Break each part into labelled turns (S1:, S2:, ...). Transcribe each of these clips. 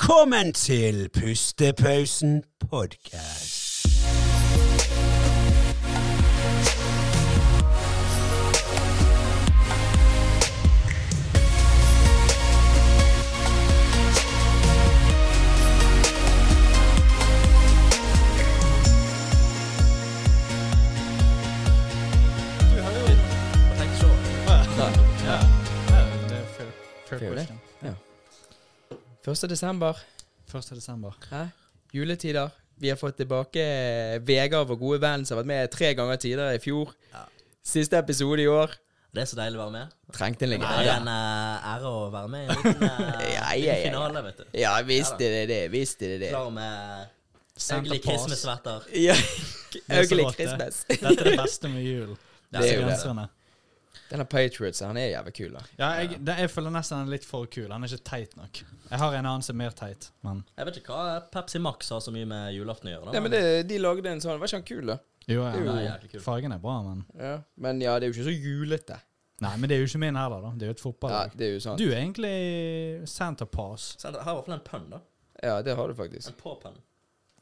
S1: Velkommen til Pustepausen podcast.
S2: Fair
S3: Fair
S2: question.
S3: 1. desember,
S2: 1. desember.
S3: hæ? juletider. Vi har fått tilbake eh, Vegard, vår gode venn, som har vært med tre ganger tidligere i fjor. Siste episode i år.
S4: Det er så deilig å være med.
S3: Trengte en
S4: Det er
S3: lenger.
S4: en eh, ære å være med i en liten, eh,
S3: Ja, ja,
S4: liten
S3: ja.
S4: finale, vet du.
S3: Ja, visst er det det. Visst er det det.
S4: Klar med
S2: Santa
S4: ugly
S2: Paws.
S4: Christmas-svetter.
S3: Ja,
S2: Det er så
S3: Ugly
S2: godt, det.
S3: Christmas.
S2: Dette er det beste med jul.
S4: Det
S3: er jo det.
S2: Genserne.
S3: Den er Patriots, han er jævlig kul. da.
S2: Ja, jeg, det, jeg føler nesten han er litt for kul. Han er ikke teit nok. Jeg har en annen som er mer teit, men
S4: Jeg vet ikke hva Pepsi Max har så mye med julaften å gjøre.
S3: Nei, men det, De lagde en sånn. Var ikke han kul, da?
S2: jo, ja,
S3: Det er jo
S2: nei,
S4: jævlig kult.
S2: Fargen er bra, men
S3: Ja. Men ja, det er jo ikke så julete.
S2: Nei, men det er jo ikke min heller, da. Det er jo et
S3: Ja,
S2: fotballag.
S3: Det er jo sånn. sant.
S2: Du er egentlig Santa Pass.
S4: Så det her var i hvert fall en pønn, da.
S3: Ja, det har du faktisk.
S4: En påpønn.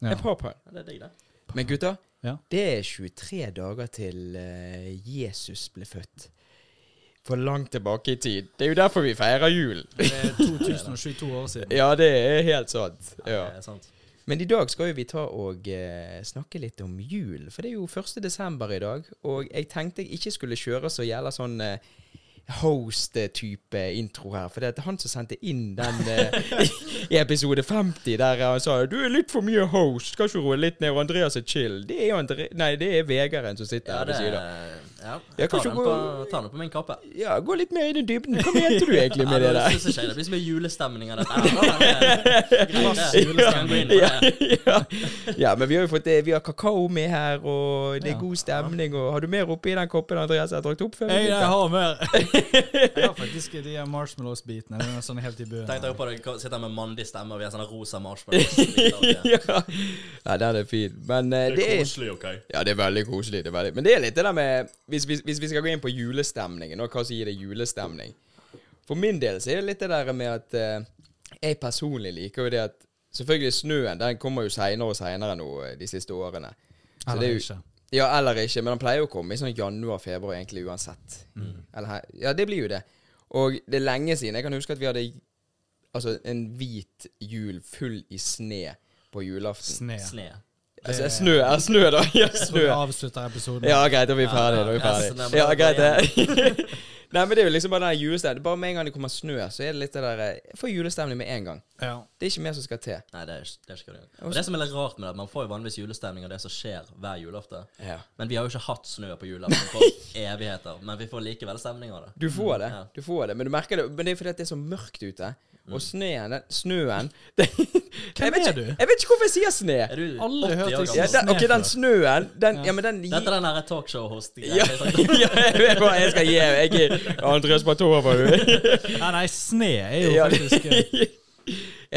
S2: Ja.
S3: Jeg prøver på den.
S4: Ja, det er digg, det.
S3: Men gutter,
S2: Ja.
S3: det er 23 dager til eh, Jesus ble født. For langt tilbake i tid. Det er jo derfor vi feirer jul.
S2: Det er 2022 år siden.
S3: Ja, det er helt sant. Ja.
S4: Det er sant.
S3: Men i dag skal jo vi ta og eh, snakke litt om jul, for det er jo 1. desember i dag. Og jeg tenkte jeg ikke skulle kjøre så jævla sånn eh, host-type intro her. For det er han som sendte inn den eh, i episode 50, der han sa 'du er litt for mye host', skal ikke roe litt ned, og Andreas er chill. Det er jo Andre Nei, det er Vegaren som sitter
S4: Ja,
S3: her
S4: det
S3: ved siden av.
S4: er Ja.
S3: Jeg
S4: Jeg
S3: kan
S4: tar
S3: ikke
S4: den
S3: gå-
S4: på, tar den på min kappe.
S3: Ja, gå litt mer i den dybden. Hva mente du egentlig med det
S4: Ja,
S3: der?
S4: synes jeg ikke. Det blir så mye julestemning av dette. her. Det er greit, det. Vi kan gå inn på
S3: ja,
S4: det.
S3: ja. ja, men vi har jo fått det. Vi har kakao med her, og det er
S2: Ja.
S3: god stemning. Og har du mer oppi den koppen, Andreas? Jeg har drukket opp før. vi
S2: Jeg, jeg
S3: begynte?
S2: har mer. Jeg har faktisk de her marshmallows-bitene. Det er sånn helt i
S4: Tenk
S2: bunnen.
S4: deg på det, sitter med mandig stemme, og vi har sånne rosa marshmallows.
S3: ja. ja, den er fin. Men eh, det er
S4: OK?
S3: ja, det er veldig koselig. Det er veldig. Men det er litt det der med Hvis, hvis, hvis vi skal gå inn på julestemningen, og hva som gir deg julestemning For min del så er det litt det der med at eh, jeg personlig liker jo det at Selvfølgelig snøen den kommer jo seinere og seinere nå eh, de siste årene. Så det er
S2: Eller
S3: jo-
S2: ikke.
S3: Ja, eller ikke, men han pleier jo å komme i sånn januar-februar egentlig uansett.
S2: Mm.
S3: Eller, her- ja, det blir jo det. Og det er lenge siden. Jeg kan huske at vi hadde altså, en hvit jul full i sne på julaften.
S2: Sne.
S4: Sne.
S3: Altså, snø, ja, snø da. Ja,
S2: Så vi
S3: snø.
S2: avslutter episoden.
S3: Ja, greit, da er vi ferdige. Da er vi
S4: Ja, så da må
S3: ferdige. Ja,
S4: vi gå
S3: greit det. Nei, men det er jo liksom bare den julestemningen. Bare med en gang det kommer snø, så er det litt det der eh, Jeg får julestemning med en gang.
S2: Ja.
S3: Det er ikke mer som skal til.
S4: Nei, det er, ikke- det er ikke hva det er. Og det som er litt rart med det, man får jo vanligvis julestemning av det som skjer hver julaften.
S3: Ja.
S4: Men vi har jo ikke hatt snø på julaften for evigheter. Men vi får likevel stemning av det.
S3: Du får det,
S4: Mm, Ja. Mm.
S3: du får det, men du merker det Men det er fordi at det er så mørkt ute. Og snøen, den, snøen det, jeg vet
S2: er
S3: ikke,
S2: du?
S3: Jeg vet ikke hvorfor jeg sier snø.
S4: Er du
S2: Aldri
S4: 80
S2: hørt
S4: år
S2: deg
S3: Ja,
S2: si
S4: gammel?
S2: det.
S3: den, ok, den snøen Den, ja, men den
S4: Dette er den derre talkshow-hosten.
S3: ja, ja, jeg, bare- jeg skal gi jeg, jeg, Andreas Batova, du.
S2: Nei, nei, sne er jo
S3: Ja.
S2: faktisk eh,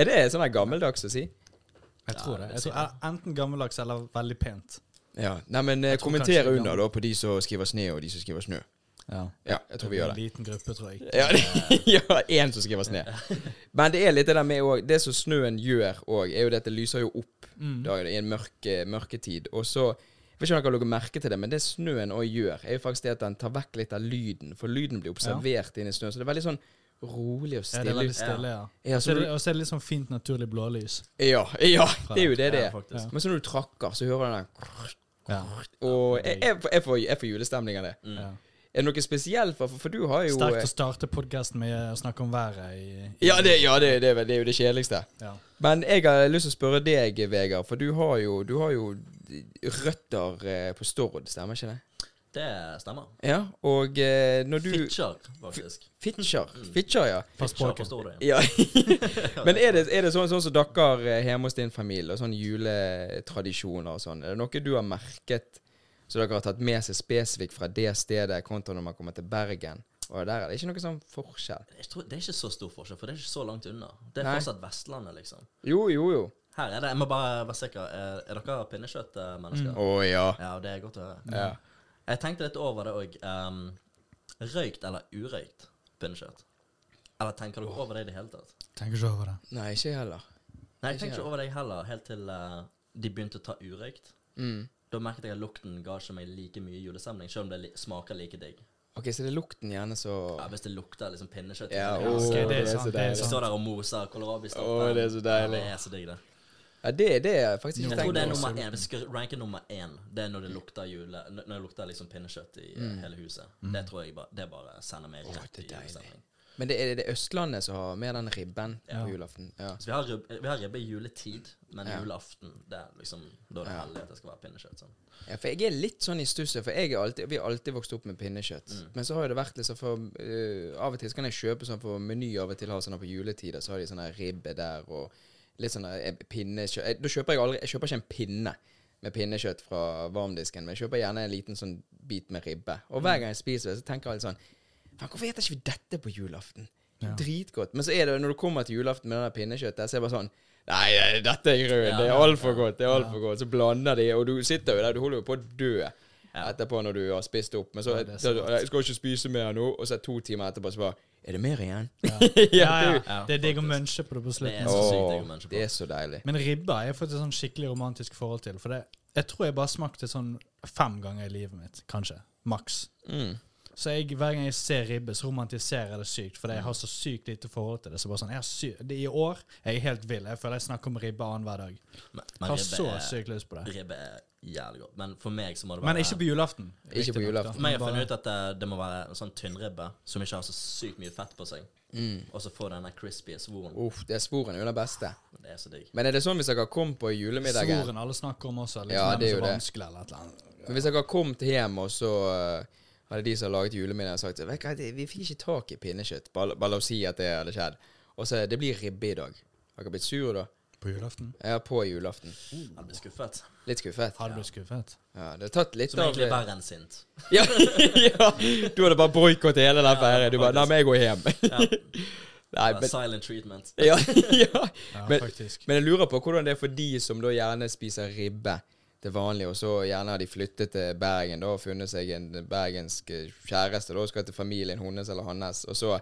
S3: Er det sånn her gammeldags å si?
S2: Jeg tror det. Jeg tror, eh, enten gammeldags eller veldig pent.
S3: Ja, Nei, men eh,
S2: tror
S3: kommenter
S2: kanskje det er
S3: under, da, på de som skriver sne, og de som skriver snø.
S2: Ja.
S3: Ja, jeg tror vi gjør det.
S2: En liten gruppe, tror jeg.
S3: Ja, det- ja, én som skriver snø. Men det er litt det der med òg Det som snøen gjør òg, er jo det at det lyser jo opp
S2: Mm.
S3: da, i en mørke, mørketid. Og så jeg vet ikke om dere har lagt merke til det, men det snøen òg gjør, er jo faktisk det at den tar vekk litt av lyden. For lyden blir observert inni snøen. Så det er veldig sånn rolig
S2: Ja, det
S3: og
S2: er
S3: stille.
S2: veldig stille, ja.
S3: Ja,
S2: Og så er
S3: så
S2: det-
S3: du,
S2: og så er det litt sånn fint, naturlig blålys.
S3: ja, ja, det er jo det det
S4: Ja,
S3: er.
S4: faktisk.
S3: Men så når du trakker, så hører du den
S2: Ja.
S3: Mm. Og jeg, jeg, får- jeg, får, jeg får julestemning av det.
S2: Ja.
S3: Er det noe spesielt, for, for du har jo eh,
S2: Sterkt å starte podkasten med å snakke om været i, i
S3: Ja, det, ja det, det, er vel- det er jo det kjedeligste.
S2: ja.
S3: Men jeg har lyst til å spørre deg, Vegard, for du har jo, du har jo røtter eh, på Stord, stemmer ikke det?
S4: Det stemmer.
S3: Ja, og eh, når du
S4: Fitjar, faktisk.
S3: Fitjar.
S2: Mm.
S3: Fitjar, ja.
S2: Pass på
S4: Fitjar, forstår
S2: dere.
S4: du.
S3: ja. Men er det, er det sånn, sånn som dere eh, hjemme hos din familie, og sånne juletradisjoner og sånn, er det noe du har merket så dere har tatt med seg spesifikt fra det stedet, kontra når man kommer til Bergen? Og der er det ikke noe sånn forskjell.
S4: Jeg tror, det er ikke så stor forskjell, for det er ikke så langt unna. Det er
S3: Nei.
S4: fortsatt Vestlandet, liksom.
S3: Jo, jo, jo.
S4: Her er det, Jeg må bare være sikker. Er, er dere pinnekjøttmennesker?
S3: Å ja.
S4: Ja, det er godt å høre.
S3: ja.
S4: Jeg tenkte litt over det um, òg. røykt eller urøykt pinnekjøtt? Eller tenker du over det i det hele tatt?
S2: Tenker ikke over det.
S3: Nei, ikke jeg heller.
S4: Nei, jeg tenkte ikke over det heller, helt til eh, de begynte å ta urøykt.
S3: Mm.
S4: Da merket jeg at lukten ga ikke meg like mye julestemning, selv om det li smaker like digg.
S3: Ok, så det er lukten gjerne så
S4: Ja, hvis det lukter liksom pinnekjøtt
S3: Ja,
S4: eller
S3: åh,
S4: gras,
S2: ok, det er
S3: det er
S2: sant,
S3: så
S4: så
S2: det er
S3: deilig.
S2: sant.
S4: står der og moser kålrabistappe.
S3: Åh, det er så
S4: Ja,
S3: deilig.
S4: det er så digg, det.
S3: Ja, det, det er jeg faktisk
S4: Jeg
S3: ikke
S4: tror det er
S3: tenkt over.
S4: nummer én. Hvis jeg skal ranke nummer én, det er når det lukter jule n- Når det lukter liksom pinnekjøtt i eh, hele huset. Det tror jeg bare, det bare sender meg rett i
S3: det er deilig.
S4: julestemning.
S3: Men det er det Østlandet som har mer den ribben på julaften. Ja.
S4: Så Altså, vi har, rib- vi har ribbe i juletid, men
S3: Ja.
S4: julaften det er liksom, da er det heldig at det skal være pinnekjøtt. Sånn.
S3: Ja, for jeg er litt sånn i stusset, for jeg er alltid, vi har alltid vokst opp med pinnekjøtt.
S4: Mm.
S3: Men så har jo det vært liksom for eh, Av og til så kan jeg kjøpe sånn for Meny av og til har sånn her på juletider, så har de sånn her ribbe der og litt sånn her, eh, pinnekjøtt Eh, Da kjøper jeg aldri Jeg kjøper ikke en pinne med pinnekjøtt fra varmdisken, men jeg kjøper gjerne en liten sånn bit med ribbe. Og
S4: Mm.
S3: hver gang jeg spiser det, så tenker jeg alltid sånn Faen, hvorfor spiser ikke vi dette på julaften? Dritgodt. Men så er det når du kommer til julaften med det der pinnekjøttet, så er det bare sånn Nei, nei, dette er grønn. det er altfor godt. det er alt for godt. Så blander de, og du sitter jo der. Du holder jo på å dø etterpå når du har spist opp. Men så
S2: det er
S3: så- Jeg skal ikke spise mer nå. Og så to timer etterpå så bare Er det mer igjen? Ja,
S2: Ja,
S3: du-
S2: ja. Det er digg å munche på det på
S4: Det er
S2: slutten.
S4: så
S3: Åh,
S4: sykt digg å munche på.
S3: det er så deilig.
S2: Men ribba er jeg faktisk sånn skikkelig romantisk forhold til. For det, jeg tror jeg bare smakte sånn fem ganger i livet mitt. Kanskje. Maks.
S3: Mm.
S2: Så jeg, hver gang jeg ser ribbe, så romantiserer jeg det sykt. Fordi jeg har så sykt lite forhold til det. Så bare sånn, jeg har sy det, I år er jeg helt vill. Jeg føler jeg snakker om ribbe annenhver dag.
S4: Men,
S2: Jeg
S4: men
S2: har
S4: ribbe,
S2: så
S4: er,
S2: sykt lyst på det.
S4: ribbe er jævlig godt. Men for meg så må det være
S2: Men ikke på julaften.
S3: Ikke på
S2: riktig nok,
S3: julaften.
S2: da.
S4: For meg har jeg
S2: Bare-
S4: funnet ut at det, det må være en sånn tynnribbe som ikke har så sykt mye fett på seg. Og så få denne crispy svoren.
S3: Uff, det er sporene jo det beste.
S4: Det er så digg.
S3: Men er det sånn hvis dere kom på julemiddagen
S2: Svoren alle snakker om også. Liksom,
S3: Ja, det er jo
S2: så
S3: det.
S2: vanskelig eller et eller annet.
S3: Men Hvis dere kom til hjem, og så eh, hadde de som har laget julemiddagen sagt Vet du hva, det- vi fikk ikke tak i pinnekjøtt. Bare, bare la oss si at det hadde skjedd. Og så det blir ribbe i dag. Har dere blitt sure da?
S2: På julaften?
S3: Ja, på julaften.
S4: Jeg blir skuffet.
S3: Litt skuffet.
S2: Hadde du blitt skuffet?
S3: Ja, det har tatt litt
S4: Som
S3: av eh,
S4: egentlig er verre enn sint.
S3: ja, ja, du hadde bare boikottet hele den feiringen. Du bare Nei, men jeg går hjem. Nei, men
S4: Silent treatment.
S3: ja, ja.
S2: Ja,
S3: Men,
S2: faktisk.
S3: men jeg lurer på hvordan det er for de som da gjerne spiser ribbe til vanlig, og så gjerne har de flyttet til Bergen da og funnet seg en bergensk eh, kjæreste da, og skal til familien hennes eller hans, og så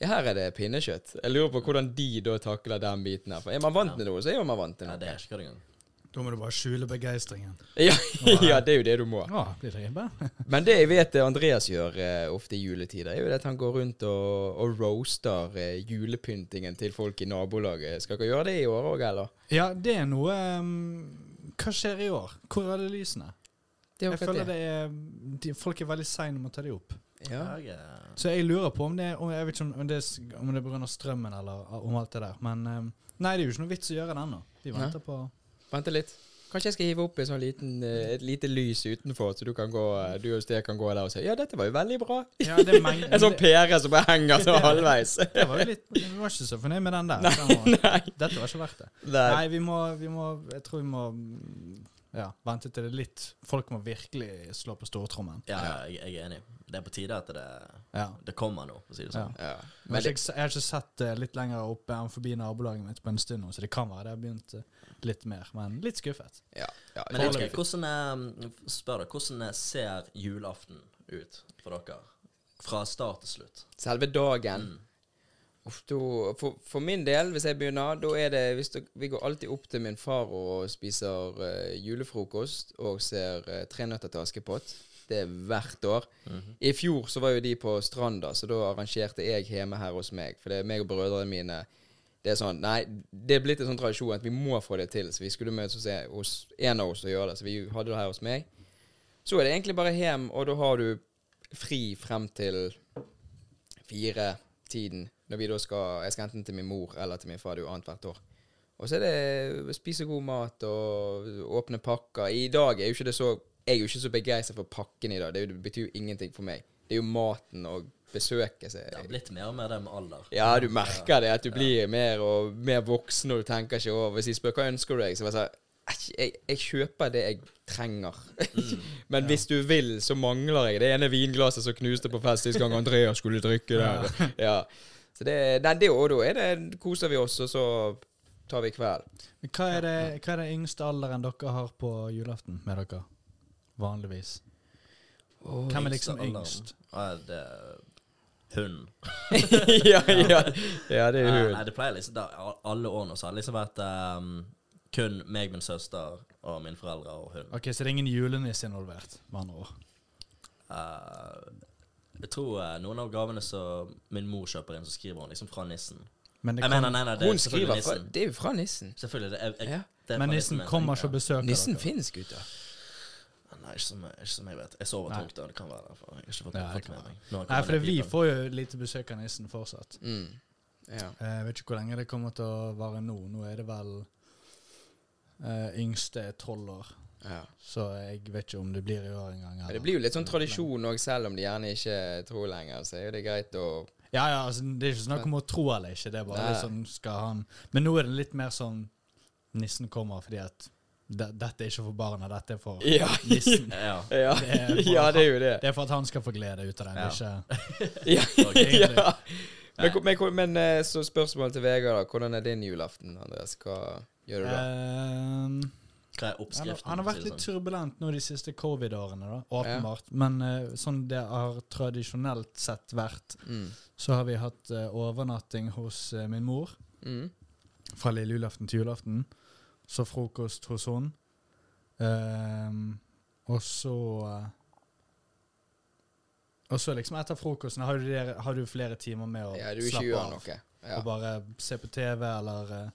S3: ja, her er det pinnekjøtt. Jeg lurer på hvordan de da takler den biten her. For er man vant til noe, så er jo man vant til
S4: Nei,
S3: noe.
S4: det er ikke det engang.
S2: Da må du bare skjule begeistringen.
S3: Ja, ja, det er jo det du må.
S2: Ja, blir det ribbe?
S3: Men det jeg vet eh, Andreas gjør eh, ofte i juletider, er jo det at han går rundt og, og roaster eh, julepyntingen til folk i nabolaget. Skal dere gjøre det i år òg, eller?
S2: Ja, det er noe ehm, Hva skjer i år? Hvor er det lysene?
S3: Det
S2: Jeg føler det er de, Folk er veldig seine med å ta de opp.
S3: Ja.
S4: Jeg eh, er-
S2: Så jeg lurer på om det om, Jeg vet ikke om, om det er s- om det er pga. strømmen eller om alt det der. Men ehm, nei, det er jo ikke noe vits å gjøre det ennå. De
S3: Nei.
S2: venter på
S3: Vent litt. Kanskje jeg skal hive opp en sånn liten, eh, et lite lys utenfor, så du, kan gå, eh, du og Sted kan gå der og si 'ja, dette var jo veldig bra'.
S2: Ja, det er meng-
S3: En sånn
S2: det,
S3: pære som bare henger sånn halvveis.
S2: det var jo litt Vi var ikke så fornøyd med den der. Den var,
S3: Nei.
S2: dette var ikke verdt det.
S3: Nei.
S2: Nei, vi må, vi må Jeg tror vi må mm, ja, vente til det er litt Folk må virkelig slå på stortrommen.
S4: Ja, ja, jeg, jeg er enig. Det er på tide at det,
S2: Ja.
S4: det kommer nå, for å si det sånn.
S3: Ja.
S2: Men jeg, har ikke- jeg har ikke sett det litt lenger oppe enn forbi nabolaget mitt på en stund nå, så det kan være det har begynt eh, litt mer, men litt skuffet.
S3: Ja, ja,
S4: Men jeg vet ikke, hvordan, eh, spør deg, hvordan ser julaften ut for dere? Fra start til slutt.
S3: Selve dagen. Uff, da- for, for min del, hvis jeg begynner, da er det hvis du, Vi går alltid opp til min far og spiser eh, julefrokost og ser eh, Tre nøtter til Askepott. Det er hvert år. I fjor så var jo de på Stranda, så da arrangerte jeg hjemme her hos meg. For det er meg og brødrene mine Det er sånn Nei, det er blitt en sånn tradisjon at vi må få det til. Så vi skulle møtes hos en- hos en av oss og gjøre det. Så vi hadde det her hos meg. Så er det egentlig bare hjem, og da har du fri frem til fire-tiden. Når vi da skal Jeg skal enten til min mor eller til min far. Det er jo annethvert år. Og så er det å spise god mat og åpne pakker. I dag er jo ikke det så Jeg er jo ikke så begeistra for pakken i dag. Det, er jo- det betyr jo ingenting for meg. Det er jo maten og besøket som
S4: Det har
S3: er
S4: blitt mer og mer det med alder.
S3: ja, du merker det, at du blir mer og mer voksen, og du tenker ikke over Hvis de spør hva ønsker du deg, så bare sånn «Æsj, jeg, jeg kjøper det jeg trenger.
S4: Mm.
S3: Men hvis du vil, så mangler jeg det ene vinglasset som knuste på fest sist gang Andreas skulle drikke det. Ja. Så det, nei, det og da er det, koser vi oss, og så tar vi kveld.
S2: Men Hva er det, hva er det yngste alderen dere har på julaften med dere? Vanligvis. Hvem er liksom
S4: Yngste alderen.
S2: yngst?
S4: Ja, det Hund.
S3: ja, ja, ja, det er
S4: Eh,
S3: hun.
S4: Nei, det pleier liksom da, al- Alle årene så har det liksom vært ehm, kun meg, min søster og mine foreldre og hun.
S2: Ok, Så det er ingen julenisse involvert, med andre ord.
S4: Eh, jeg tror eh, noen av gavene som min mor kjøper inn, så skriver hun liksom fra nissen.
S2: Men, det
S4: Jeg
S2: kan,
S4: mener, nei, nei, det er
S3: Hun skriver
S4: selvfølgelig
S3: fra,
S4: nissen.
S3: Det er jo fra nissen.
S4: Selvfølgelig. Det er, jeg,
S3: Ja.
S4: det er
S2: men
S4: fra
S2: nissen
S4: men-
S2: kommer ikke og besøker
S3: Nissen
S2: dere.
S3: finnes, gutter.
S4: Nei, ikke som, ikke som jeg vet. Jeg sover tungt, da. Det kan være derfor. Jeg har ikke fått,
S2: Ja, det
S4: fått
S2: kan
S4: med
S2: være.
S4: meg. Nå kommer
S2: Nei, for det,
S4: den
S2: vi
S4: pipen.
S2: får jo lite besøk av nissen fortsatt.
S3: Mm. Ja.
S2: Eh, Jeg vet ikke hvor lenge det kommer til å vare nå. Nå er det vel eh, yngste er tolv år,
S3: ja.
S2: så jeg vet ikke om det blir i år engang.
S3: Men det blir jo litt sånn tradisjon òg, selv om de gjerne ikke tror lenger. Så er jo det greit å
S2: Ja, ja, altså, det er ikke snakk om å tro eller ikke. Det er bare
S3: Nei.
S2: litt sånn skal han Men nå er det litt mer sånn nissen kommer fordi at de, dette er ikke for barna, dette er for
S3: Ja,
S2: nissen.
S4: Ja.
S3: ja.
S2: Det er for-
S3: ja det er jo det.
S2: Det er for at han skal få glede ut av den.
S4: Ja.
S2: Ikke,
S3: Ja.
S2: egentlig.
S3: ja. Men, hvor- men, hvor- men eh, så spørsmålet til Vegard, da. Hvordan er din julaften, Andreas? Hva gjør du
S2: Eh,
S3: da?
S2: Ehm,
S4: Hva er
S2: han, har-
S4: oppskriften?
S2: han
S4: for
S2: har
S4: å
S2: vært
S4: si det
S2: litt
S4: sånn?
S2: turbulent nå de siste covid-årene, da, åpenbart. Men eh, sånn det har tradisjonelt sett vært,
S3: Mm.
S2: så har vi hatt eh, overnatting hos eh, min mor.
S3: Mm.
S2: fra lille julaften til julaften. Så frokost hos hun. Ehm, og så eh, Og så liksom etter frokosten har du, der, har du flere timer med å
S3: Ja, du ikke
S2: slappe
S3: gjør
S2: av.
S3: noe. Ja.
S2: Og bare se på TV, eller eh,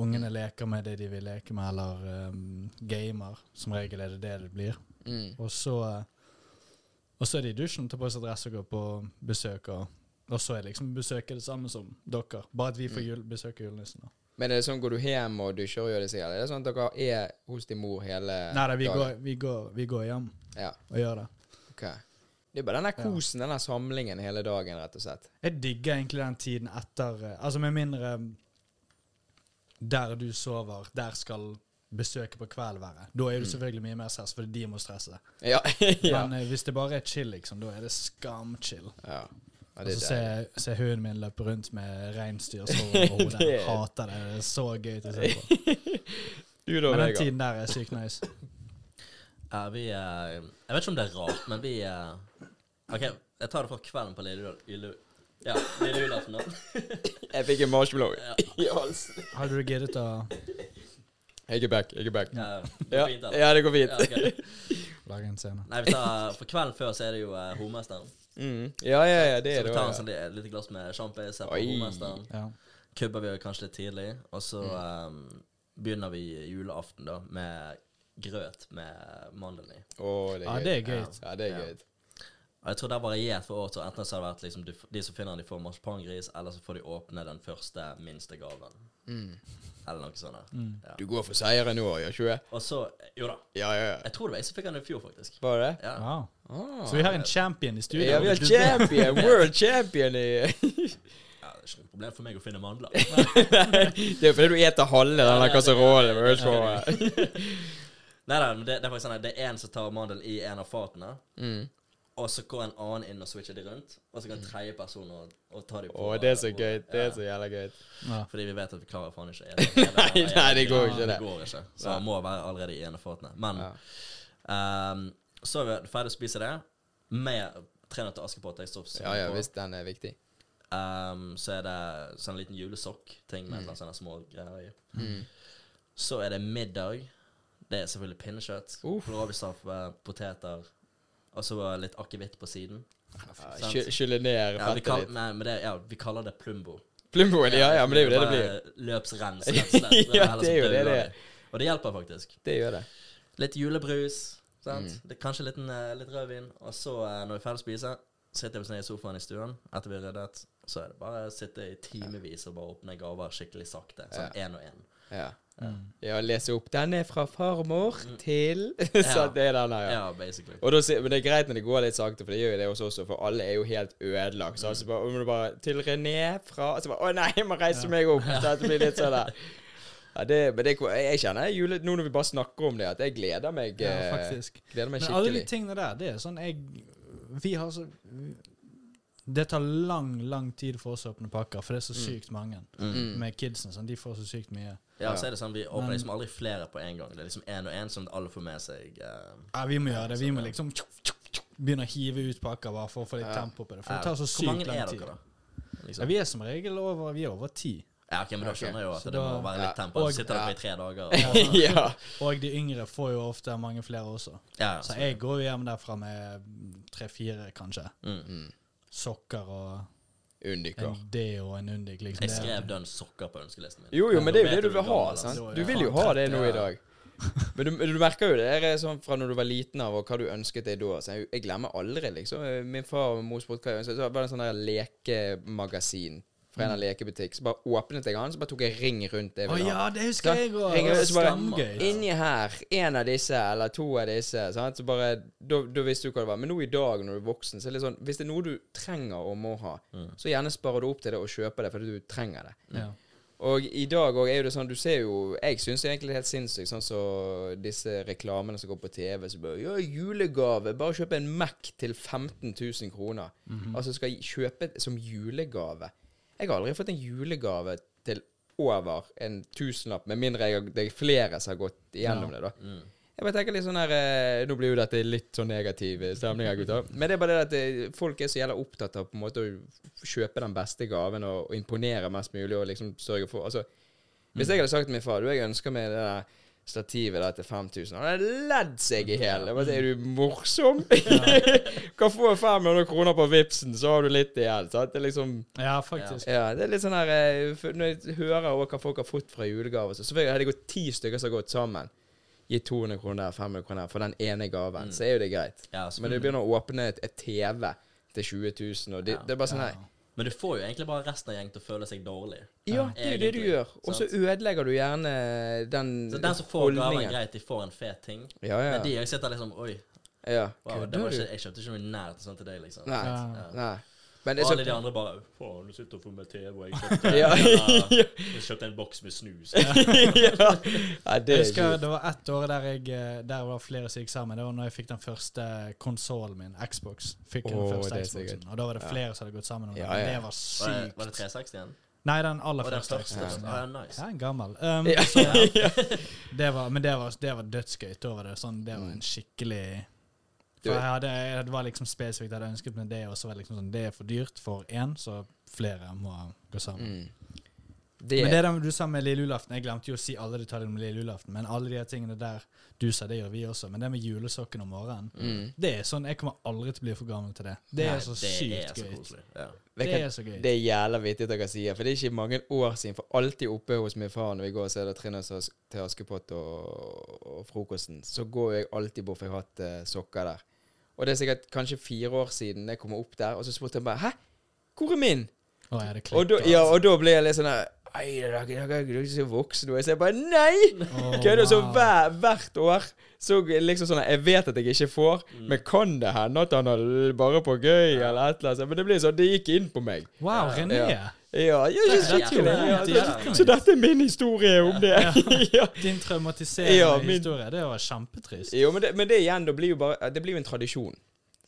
S2: ungene leker med det de vil leke med, eller ehm, gamer. Som regel er det det det blir.
S3: Mm.
S2: Og så eh, Og så er de i dusjen, tar på seg dress og går på besøk. Og, og så er liksom besøket det samme som dere, bare at vi
S3: Mm.
S2: får jul, besøk av julenissen. da.
S3: Men er det sånn, går du hjem og dusjer og gjør det selv? Eller er det sånn at dere er hos din mor hele
S2: Nei, nei vi,
S3: dagen?
S2: går, vi, går, vi går hjem
S3: Ja,
S2: og gjør det.
S3: ok. Det er bare den der kosen, den der samlingen hele dagen, rett og slett.
S2: Jeg digger egentlig den tiden etter eh, Altså, med mindre eh, der du sover, der skal besøket på kvelden være. Da er du selvfølgelig mye mer stress, fordi de må stresse.
S3: Ja. Mm. ja.
S2: Men eh, hvis det bare er chill, liksom, da er det skamchill.
S3: ja. ja
S2: Og
S3: det
S2: så
S3: er deilig.
S2: ser se hunden min løpe rundt med reinsdyrshår over hodet. Jeg Hater det. Det er så gøy til å se på.
S3: Du da,
S2: Men den
S3: Vegard.
S2: tiden der er sykt nice.
S4: Ja, vi eh, Jeg vet ikke om det er rart, men vi eh, OK, jeg tar det fra kvelden på lille jul- jule... Ja, lille julaften, da.
S3: Jeg fikk en marshmallow i halsen.
S2: Har du giddet å
S3: Jeg er back, jeg er back.
S4: Ja, det
S3: Ja,
S4: er fint, da.
S3: ja det går
S4: Ja,
S3: fint.
S4: ok.
S2: lage en scene?
S4: Nei, vi tar, for kvelden før så er det jo uh, Hovmesteren.
S3: Mm. Ja, ja, ja, det
S4: Så
S3: er
S4: vi
S3: det
S4: tar en
S3: også,
S4: sånn li- lite glass med sjampis her på
S3: Oi.
S4: Hovmesteren.
S2: Ja.
S4: Kubber vi jo kanskje litt tidlig, og så eh, begynner vi julaften da med grøt med mandel i.
S3: ja. Å, det
S2: ja,
S3: er gøy.
S2: det er gøy.
S3: Ja, det er
S4: Ja.
S3: gøy.
S4: Og jeg tror det har variert for år til enten så har det vært liksom du, f- de som finner den, de får marsipangris, eller så får de åpne den første, minste gaven. Eller noe sånt. der. Ja.
S3: Du går for seieren nå, gjør ikke du det?
S4: Og så Jo da.
S3: Ja, ja, ja.
S4: Jeg tror det var jeg som fikk den i fjor, faktisk.
S3: Var det det?
S4: Ja.
S2: Wow.
S3: Ah.
S2: Så vi har en champion i studio.
S3: Ja, vi har
S2: Du-
S3: champion, world champion i
S4: ja, det er ikke noe problem for meg å finne mandler.
S3: Det er jo fordi du eter halve
S4: Ja,
S3: denne
S4: det-
S3: kasserollen.
S4: det-
S3: vet du hva?
S4: Nei, nei, men det, det er faktisk sånn at det er en som tar mandel i en av fatene,
S3: Mm.
S4: og så går en annen inn og switcher de rundt, og så kan tredje person og, og ta de på.
S3: Å, det er så
S4: på-
S3: gøy. Det er
S4: ja.
S3: så jævla gøy.
S2: Ja.
S4: Fordi vi vet at vi klarer faen ikke ene-
S3: Nei, nei, det går ikke, det.
S4: Det går ikke. Så det må være allerede i ene fatene. Men
S3: Ja.
S4: ehm, så er vi ferdig å spise det med Tre nøtter til Askepott. Jeg står for-
S3: Ja, ja, visst, den er viktig.
S4: Ehm, så er det sånn liten julesokk-ting med mm. sånne små greier i.
S3: Mm.
S4: Så er det middag. Det er selvfølgelig pinnekjøtt.
S3: Uff.
S4: Blåbærsaft, eh, poteter. Og så eh, litt akevitt på siden.
S3: Ja,
S4: Sant.
S3: sky- Skylle ned
S4: Ja, vi,
S3: fettet
S4: kall,
S3: litt.
S4: nei, men det, ja, vi kaller det plumbo.
S3: Plumboen, ja, ja, men det er jo det det blir.
S4: Bare Løpsrens, rett og slett.
S3: Ja,
S4: heller
S3: det er jo
S4: som
S3: det det
S4: dødler
S3: er.
S4: det. Og det hjelper faktisk.
S3: Det gjør det.
S4: Litt julebrus, sant?
S3: Mm.
S4: Det er kanskje litt, en, eh, litt rødvin. Og så, eh, når vi er ferdig å spise, sitter vi sånn i sofaen i stuen etter vi har ryddet. Så er det bare å sitte i timevis og bare åpne gaver skikkelig sakte. Sånn én og én.
S3: Ja. ja, lese opp. Den er fra farmor
S2: Mm.
S3: til Så det er den her, ja.
S4: Ja, basically.
S3: Og da, sier- men det er greit når det går litt sakte, for det gjør jo det hos oss også, for alle er jo helt ødelagt.
S2: Mm.
S3: Så altså bare, om du bare Til René fra Så bare Å nei, jeg må reise meg opp! Så det blir litt sånn der. Ja, det, men det, jeg kjenner jule, nå når vi bare snakker om det, at jeg gleder meg
S2: Ja,
S3: eh,
S2: faktisk.
S3: Gleder meg
S2: Men alle de
S3: skikkelig.
S2: tingene der, det er sånn jeg Vi har så Det tar lang, lang tid for oss å åpne pakker, for det er
S4: Mm.
S2: så sykt mange
S3: Mm.
S2: med kidsen. Sånn, de får så sykt mye.
S4: Ja, så er det sånn, Vi åpner liksom aldri flere på en gang. Det er liksom én og én, sånn at alle får med seg eh,
S2: Ja, vi må gjøre det. Vi må liksom begynner å hive ut pakker bare for å få litt
S3: Ja.
S2: tempo på det. For det tar så
S4: Hvor mange
S2: sykt
S4: er
S2: lang tid.
S4: dere, da?
S2: Ja,
S4: Liksom.
S2: vi er som regel over, vi er over ti.
S4: Ja, ok, men da
S3: Ok,
S4: skjønner jeg jo at
S2: så
S4: det må
S2: da-
S4: være
S3: ja.
S4: litt tempo.
S2: Og-
S4: Så sitter
S3: ja.
S4: dere i tre dager. Og,
S3: Ja. ja.
S2: Og de yngre får jo ofte mange flere også.
S4: ja,
S2: Så jeg går jo hjem derfra med tre-fire, kanskje.
S4: mm.
S3: Mm.
S2: Sokker og
S3: Undiker.
S2: en D og en Undik. Liksom.
S4: Jeg
S2: Det-
S4: skrev dønn sokker på ønskelisten min.
S3: Jo, jo, men det er jo
S4: Nå vet
S3: det du vil ha.
S4: gammel,
S3: sant?
S2: altså.
S3: Du vil jo ha det nå i dag. Men du, du merker jo det er sånn fra når du var liten av, og hva du ønsket deg da. Så jeg, jeg glemmer aldri, liksom. Min far og mors bror, hva jeg ønsket, så var det en sånn der lekemagasin fra en eller annen lekebutikk. Så bare åpnet jeg den, så bare tok jeg ring rundt det jeg
S2: Å
S3: ville ha.
S2: ja, det husker jeg òg!
S3: Ringer ut, så bare-
S2: Skamgøy.
S3: Inni her, en av disse, eller to av disse. Sant? Så bare, da, da visste du hva det var. Men nå i dag, når du er voksen, så er det litt sånn Hvis det er noe du trenger og må ha, så gjerne sparer du opp til det og kjøper det fordi du trenger det.
S2: Ja.
S3: Og i dag òg er jo det sånn Du ser jo Jeg syns egentlig det er helt sinnssykt, sånn som disse reklamene som går på TV. Så bare, ja, julegave! Bare kjøp en Mac til 15 000 kroner. Altså skal jeg kjøpe som julegave. Jeg har aldri fått en julegave til over en tusenlapp, med mindre jeg, har- det er flere som har gått igjennom det, da. Jeg bare tenker litt sånn her eh, Nå blir jo dette litt sånn negativ stemning her, gutter. Men det er bare det at eh, folk er så jævla opptatt av på en måte å f- kjøpe den beste gaven og, og imponere mest mulig og liksom sørge for Altså, hvis jeg hadde sagt til min far Du, jeg ønsker meg det der stativet der til 5000 Han hadde ledd seg i hjel. Jeg bare sier, Er du morsom? kan få 500 kroner på Vipsen, så har du litt igjen. Sant? Det er liksom
S2: ja, faktisk.
S3: ja, det er litt sånn her eh, for Når jeg hører også hva folk har fått fra julegave så Selvfølgelig hadde det gått ti stykker som har gått sammen. Gitt 200 kroner, 500 kroner for den ene
S4: Mm.
S3: gaven, så er jo det greit.
S4: Ja, så-
S3: Men du begynner å åpne et, et TV til 20 000, og
S4: Mm.
S3: det,
S4: Ja.
S3: det er bare sånn her
S4: Men du får jo egentlig bare resten av gjengen til å føle seg dårlig.
S3: Ja, det er jo det du
S4: Egentlig,
S3: gjør. Og så ødelegger du gjerne den
S4: Så den som får gaven, greit, de får en fet ting.
S3: Ja, ja.
S4: Men de jeg sitter liksom Oi,
S3: ja.
S4: wow, det
S3: Kødder
S4: var
S3: du?
S4: ikke, jeg kjøpte ikke noe nært sånn til deg, liksom.
S3: Nei.
S2: Ja.
S3: Nei. Men
S4: Og
S3: det er
S4: alle de
S3: så
S4: andre bare Faen, du sitter og får med TV, og jeg kjøpte,
S3: Ja.
S4: ja, jeg kjøpte en boks med snus.
S3: ja. Nei, det
S2: Jeg
S3: er ikke
S2: husker det var ett år der jeg eh, Der var flere som gikk sammen. Det var når jeg fikk den første konsollen min, Xbox. Fikk jeg
S3: Åh,
S2: den første
S3: det er så
S2: Xboxen
S3: gøy.
S2: Og da var det flere som hadde gått sammen om
S3: Ja,
S2: det.
S3: ja.
S2: Det var
S4: Var det, var det
S2: sykt.
S4: 360 igjen?
S2: Nei, den aller
S4: Og den
S2: første.
S4: første? Ah,
S2: Xboxen,
S4: Ja,
S2: Ja,
S4: nice.
S2: Ja, en gammel. Um,
S3: Ja.
S2: så, det var, men det var, det var dødsgøy. Da var det sånn Det var en skikkelig
S3: Mm. Du-
S2: For jeg hadde, jeg, Det var liksom spesifikt jeg hadde ønsket meg det, og så var det liksom sånn Det er for dyrt for én, så flere må gå sammen.
S3: mm.
S2: Men
S3: Det
S2: det der du sa med lille julaften Jeg glemte jo å si alle detaljene om lille julaften, men alle de her tingene der du sa, det gjør vi også. Men det med julesokken om morgenen,
S3: mm.
S2: det er sånn Jeg kommer aldri til å bli for gammel til det. Det
S4: Nei,
S2: er så
S4: det er
S2: sykt
S4: så
S2: gøy.
S4: koselig. Ja.
S3: Det
S2: Det
S3: kan-
S2: er så gøy.
S3: Det er jævla vittig at dere sier, for det er ikke mange år siden. For alltid oppe hos min far når vi går og ser det Trine As- til Askepott og, og frokosten, så går jeg alltid bort, for jeg har hatt eh, sokker der. Og det er sikkert kanskje fire år siden jeg kom opp der, og så spurte jeg bare 'Hæ? Hvor er min?'
S2: Å, ja, det
S3: Og da,
S2: klikker. altså.
S3: ja, og da ble jeg litt sånn der, Ei, dere dere- dere er ikke så voksne nå. Jeg sier bare nei!
S2: Å,
S3: Kødder så
S2: wow.
S3: hver, hvert år. Så liksom sånn Jeg vet at jeg ikke får,
S2: Mm.
S3: men kan det hende at han har l- bare på gøy, eller et eller annet? Men det blir sånn, det gikk inn på meg.
S2: Wow, René.
S3: Ja. Ja, ja, ja,
S4: Det er
S3: så,
S4: jævlig
S3: ja,
S4: kult.
S3: så, så dette er min historie om det. ja.
S2: Din traumatiserende
S3: Ja, min-
S2: historie, det var kjempetrist.
S3: Jo, men det, men det igjen, da blir jo bare Det blir jo en tradisjon.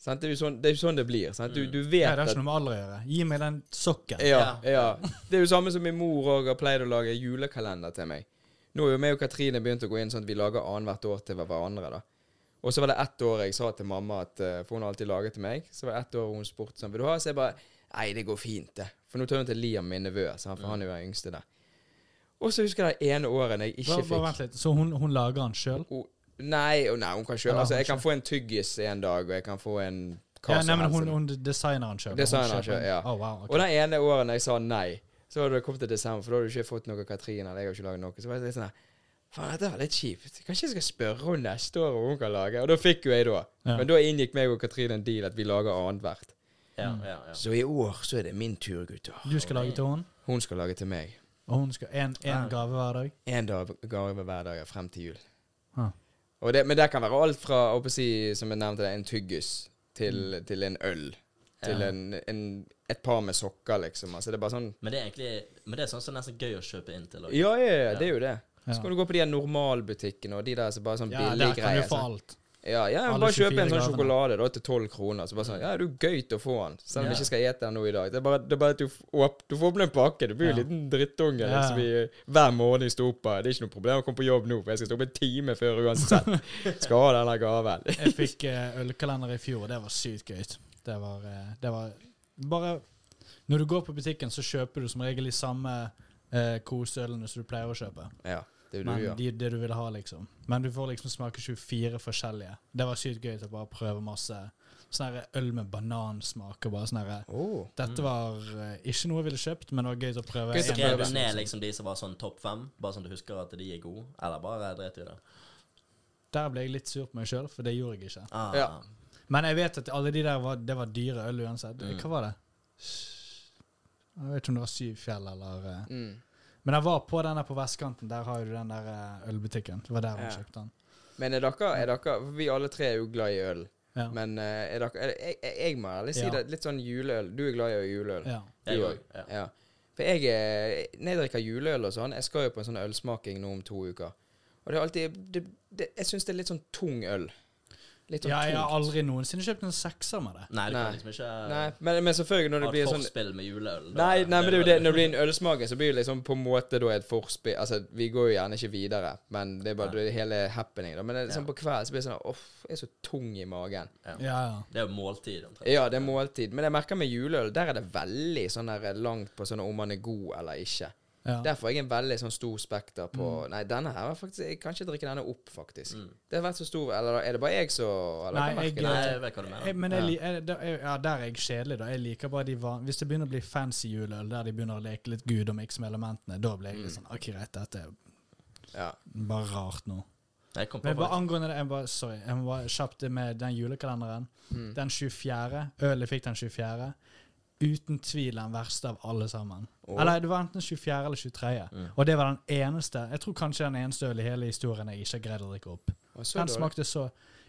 S3: Sant? Det er jo sånn det, er jo sånn det blir. Sant?
S4: Mm.
S3: Du, du vet
S2: Nei, det har
S3: at
S2: ikke noe med alder å gjøre. Gi meg den sokken.
S3: ja, ja. Det er jo samme som min mor òg har pleid å lage julekalender til meg. Nå er jo meg og Katrine begynt å gå inn sånn at vi lager annethvert år til hverandre. da. Og så var det ett år jeg sa til mamma at eh, For hun har alltid laget til meg. Så var det ett år hun spurte sånn Vil du ha? Så jeg bare Nei, det går fint, det. For nå tar hun til Liam, min nevø. sant? For han er jo den yngste der. Og så husker jeg det ene året jeg ikke
S2: Bare,
S3: fikk
S2: bare vent litt. Så hun, hun lager den sjøl?
S3: O- Nei, å, nei, hun kan kjøpe
S2: Eller
S3: Altså,
S2: hun
S3: jeg kan få en tyggis en dag, og jeg kan få en hva
S2: Ja, nei,
S3: som
S2: men hun,
S3: helst.
S2: hun designer den sjøl.
S3: Designer den selv, ja.
S2: Oh, wow, ok.
S3: Og den ene åren jeg sa nei, så hadde det kommet til desember, for da hadde du ikke fått noe Katrine, eller jeg har ikke laget noe. Så var det litt sånn her, Faen, dette var litt kjipt. Kanskje jeg skal spørre henne neste år om hun kan lage? Og da fikk jo jeg da.
S2: Ja.
S3: Men da inngikk meg og Katrine en deal at vi lager annethvert.
S4: Ja,
S2: Mm.
S4: ja, ja.
S3: Så i år så er det min tur, gutter.
S2: Du skal lage til hun,
S3: Hun skal lage til meg.
S2: og hun skal en, en gave hver dag?
S3: En dag gave hver dag frem til jul.
S2: Ah.
S3: Og det, men det kan være alt fra å på si, som jeg nevnte, det, en tyggis til, til en øl. Til en, en, et par med sokker, liksom. Altså, det er bare sånn
S4: Men det er egentlig Men det er sånn som nesten gøy å kjøpe inn til. og-
S3: Ja, ja, ja, det er jo det.
S2: Ja.
S3: Så kan du gå på de her normalbutikkene og de der som bare er sånn
S2: Ja,
S3: billige
S2: der kan
S3: greier.
S2: du få
S3: sant?
S2: alt.
S3: Ja, ja
S2: Alle
S3: bare kjøpe
S2: 24
S3: en sånn
S2: gavene.
S3: sjokolade da, til 12 kroner. Så bare sånn, ja, det er jo gøy å få den, selv om
S2: Ja.
S3: jeg ikke skal ete den nå i dag. Det er bare, det er bare at du, f- åp, du får opp en pakke. Du blir jo en
S2: Ja.
S3: liten drittunge
S2: Ja.
S3: liksom, i, hver måned i stopa. Det er ikke noe problem å komme på jobb nå, for jeg skal stå opp en time før uansett. Skal ha denne gaven.
S2: Jeg fikk eh, ølkalender i fjor, og det var sykt gøy. Det var, eh, det var bare Når du går på butikken, så kjøper du som regel de samme eh, koseølene som du pleier å kjøpe.
S3: Ja, det er jo det
S2: Men
S3: du gjør.
S2: de, det du vil ha, liksom. Men du får liksom smake 24 forskjellige. Det var sykt gøy til å bare prøve masse sånn her øl med banansmak og bare sånn her
S3: Åh.
S2: Dette var eh, ikke noe jeg ville kjøpt, men det var gøy til å prøve.
S3: Mm. Gøy til å
S2: en av
S4: Skrev du
S3: prøve.
S2: disse,
S4: ned
S2: liksom.
S4: liksom de som var sånn topp fem, bare sånn du husker at de er gode? Eller bare dret du i det?
S2: Der ble jeg litt sur på meg sjøl, for det gjorde jeg ikke.
S4: Ah,
S3: Ja.
S2: Men jeg vet at alle de der var, det var dyre øl uansett.
S4: Mm.
S2: Hva var det? Jeg vet ikke om det var Syvfjell eller eh.
S3: Mm.
S2: Men jeg var på den der på vestkanten. Der har jo du den der eh, ølbutikken. Det var der
S3: Ja.
S2: hun kjøpte den.
S3: Men er dere, er dere for Vi alle tre er jo glad i øl.
S2: Ja.
S3: Men eh, er dere er, jeg, jeg- jeg må ærlig si
S2: Ja.
S3: det, litt sånn juleøl. Du er glad i juleøl.
S2: ja.
S4: Jeg
S3: Du
S4: òg.
S3: også?
S4: Ja.
S3: Ja. For jeg, eh, når jeg drikker juleøl og sånn, jeg skal jo på en sånn ølsmaking nå om to uker. Og det er alltid det, det, Jeg syns det er litt sånn tung øl. Litt sånn
S2: ja, jeg har
S3: tungt.
S2: aldri noensinne kjøpt en sekser med det.
S4: Nei, du
S3: Nei.
S4: kan liksom ikke
S3: Nei, men, men selvfølgelig
S4: ha
S3: når det
S4: et
S3: blir sånn
S4: forspill med juleøl. Da-
S3: Nei, nei, men det er jo det.
S4: veldig-
S3: Når det blir en ølsmaking, så blir det liksom på en måte da et forspill Altså, vi går jo gjerne ikke videre, men det er bare det er hele happening, da. Men det, er sånn på kvelden så blir det sånn Uff, jeg er så tung i magen.
S2: Ja,
S4: Det er jo måltid, omtrent.
S3: Ja, det er måltid. Men jeg merker med juleøl, der er det veldig sånn der langt på sånn om man er god eller ikke.
S2: ja. Mm. ja.
S3: Derfor er jeg en veldig sånn stor spekter på Nei, denne her var faktisk Jeg kan ikke drikke denne opp, faktisk. Det har vært så stor Eller er det bare jeg som eller,
S2: Mm. Nei,
S3: kan merke
S2: jeg-
S4: Nei,
S3: det?
S4: jeg vet hva du
S2: Jeg,
S4: mener.
S2: men jeg,
S3: Ja.
S2: li- jeg, da- jeg, ja, der er jeg kjedelig, da. Jeg liker bare de van Hvis det begynner å bli fancy juleøl, der de begynner å leke litt Gud og mikse med elementene, da blir
S3: Mm.
S2: jeg litt sånn OK, greit, dette er eh,
S3: Ja.
S2: bare rart nå.
S4: Jeg kom på
S2: Men bare
S4: faktisk.
S2: angående det, jeg bare, sorry, jeg må bare kjapt det med den julekalenderen.
S4: Mm.
S2: Den 24. Ølet fikk den 24. Uten tvil den verste av alle sammen.
S3: Åh.
S2: Eller det var enten 24. eller 23.
S4: Mm.
S2: Og det var den eneste Jeg tror kanskje den eneste øl i hele historien jeg ikke har greid å drikke opp.
S3: Og så
S2: Den
S3: dårlig.
S2: smakte så